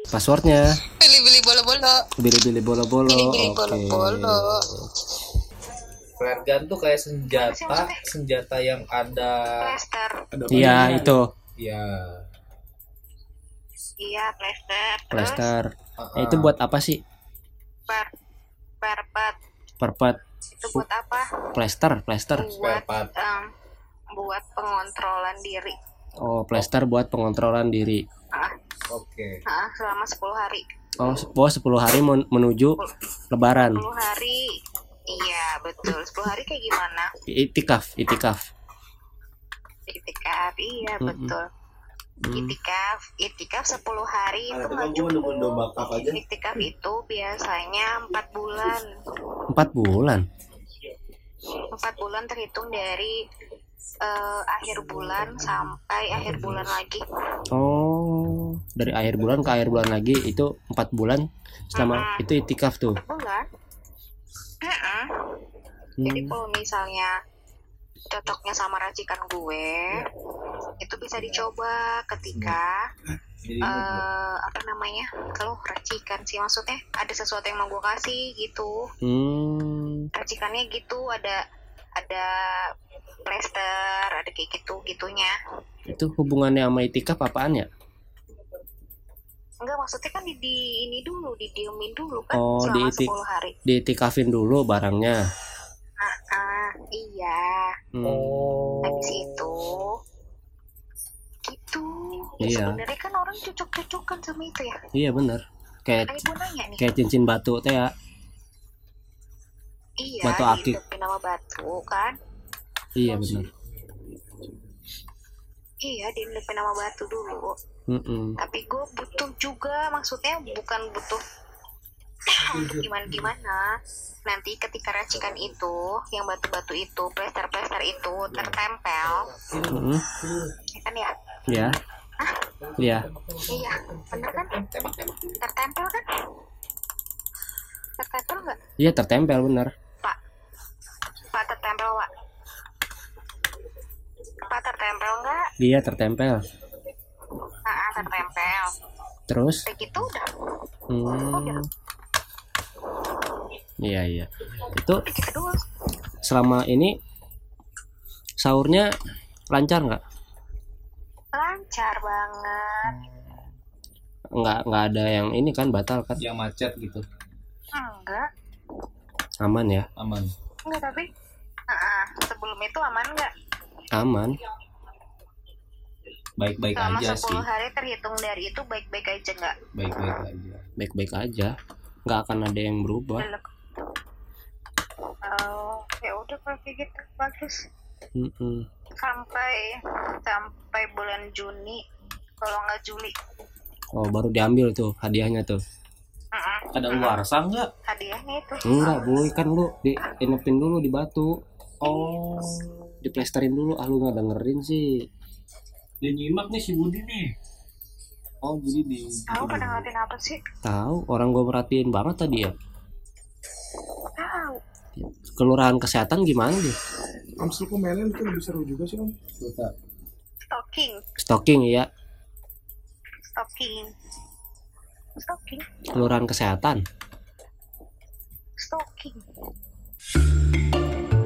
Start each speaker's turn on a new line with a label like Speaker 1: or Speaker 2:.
Speaker 1: Passwordnya
Speaker 2: Beli-beli bolo-bolo.
Speaker 1: Bilibili bolo-bolo.
Speaker 2: Bili-bili
Speaker 1: Oke.
Speaker 2: bolo-bolo.
Speaker 3: Flare gun tuh kayak senjata, senjata yang ada
Speaker 4: Plaster.
Speaker 1: Iya, itu
Speaker 3: ya
Speaker 4: Iya, plaster. Terus
Speaker 1: plaster.
Speaker 3: Uh-uh.
Speaker 1: Eh, Itu buat apa sih?
Speaker 4: bar barbat.
Speaker 1: Perpet
Speaker 4: Itu buat apa?
Speaker 1: plaster, plaster.
Speaker 3: spare
Speaker 4: Buat
Speaker 3: part.
Speaker 4: em, buat pengontrolan diri.
Speaker 1: Oh, plaster buat pengontrolan diri.
Speaker 4: Ah,
Speaker 3: Oke.
Speaker 4: ah, selama 10 hari.
Speaker 1: Oh, se- oh, 10 hari men- menuju lebaran.
Speaker 4: 10 hari. Iya, betul. 10 hari kayak gimana?
Speaker 1: Itikaf, itikaf.
Speaker 4: Itikaf. Iya, betul. Itikaf, itikaf 10 hari itu
Speaker 5: Ada kan
Speaker 4: nggak cukup.
Speaker 5: gue nemu domba kap aja.
Speaker 4: Itikaf itu biasanya 4 bulan.
Speaker 1: 4 bulan.
Speaker 4: 4 bulan terhitung dari eh, akhir bulan sampai akhir bulan lagi.
Speaker 1: Oh, dari akhir bulan ke akhir bulan lagi itu 4 bulan selama itu itikaf tuh.
Speaker 4: Bulan. Heeh.
Speaker 1: Hmm.
Speaker 4: Jadi kalau misalnya cocoknya sama racikan gue, itu bisa dicoba ketika
Speaker 3: Jadi
Speaker 4: eh, apa namanya? Kalau racikan sih maksudnya ada sesuatu yang mau gue kasih gitu.
Speaker 1: Hmm.
Speaker 4: Racikannya gitu ada ada plaster, ada kayak gitu gitunya.
Speaker 1: Itu hubungannya sama itikaf apaan ya?
Speaker 4: Enggak maksudnya kan di, di- ini dulu, didiemin dulu kan
Speaker 1: Oh,
Speaker 4: selama
Speaker 1: diitik.
Speaker 4: 10 hari.
Speaker 1: Diitikafin dulu barangnya.
Speaker 4: Ah, iya.
Speaker 1: Hmm.
Speaker 3: Oh.
Speaker 4: habis itu gitu ya
Speaker 1: Iya.
Speaker 4: sebenarnya kan orang cocok-cocokan sama itu ya
Speaker 1: Iya bener Kayak
Speaker 4: Ayo gue nanya nih
Speaker 1: kayak cincin batu teh ya.
Speaker 4: iya
Speaker 1: batu akik.
Speaker 4: dihidupin nama batu kan
Speaker 1: Iya bener
Speaker 4: iya dihidupin nama batu dulu
Speaker 1: Mm-mm.
Speaker 4: tapi gue butuh juga maksudnya bukan butuh untuk gimana-gimana nanti ketika racikan itu yang batu-batu itu plester-plester itu tertempel
Speaker 1: Mm-mm.
Speaker 4: ya kan ya
Speaker 1: Ya. Iya.
Speaker 4: iya bener kan tertempel kan tertempel nggak
Speaker 1: Iya tertempel bener
Speaker 4: Pak. Pak tertempel, Pak. Pak tertempel enggak?
Speaker 1: Iya tertempel.
Speaker 4: Ah, ah, tertempel.
Speaker 1: Terus?
Speaker 4: Begitu udah.
Speaker 1: Hmm. Iya iya. Itu
Speaker 4: Begitu dulu.
Speaker 1: selama ini sahurnya lancar nggak?
Speaker 4: Lancar banget.
Speaker 1: Nggak nggak ada yang ini kan batal kan?
Speaker 3: yang macet gitu.
Speaker 4: Enggak.
Speaker 1: Aman ya?
Speaker 3: Aman.
Speaker 4: Enggak, tapi ah, ah, sebelum itu aman enggak?
Speaker 1: Aman.
Speaker 3: Baik-baik
Speaker 4: Selama
Speaker 3: aja
Speaker 4: 10
Speaker 3: sih.
Speaker 4: hari terhitung dari itu baik-baik aja enggak?
Speaker 3: Baik-baik aja.
Speaker 1: Baik-baik aja. Nggak akan ada yang berubah.
Speaker 4: Belum. Oh, ya udah kalau kayak gitu bagus.
Speaker 1: Mm-mm.
Speaker 4: Sampai sampai bulan Juni kalau nggak Juli.
Speaker 1: Oh baru diambil tuh hadiahnya tuh.
Speaker 4: Ah, ah,
Speaker 3: Ada warsa nggak?
Speaker 4: hadiahnya itu.
Speaker 1: Enggak boy kan lu diinepin dulu di batu. Oh. Diplesterin dulu ah lu nggak dengerin sih.
Speaker 3: Dia nyimak nih si Budi nih. Oh jadi di
Speaker 4: Tahu pada
Speaker 3: Iya.
Speaker 4: ngeliatin apa sih?
Speaker 1: Tahu orang gua merhatiin banget tadi ya.
Speaker 4: Tahu.
Speaker 1: Kelurahan kesehatan gimana dia?
Speaker 5: Om Sulku mainan itu lebih seru juga sih Om.
Speaker 3: Kota.
Speaker 4: Stalking,
Speaker 1: Stocking ya
Speaker 4: stalking, stalking,
Speaker 1: kelurahan kesehatan.
Speaker 4: stalking.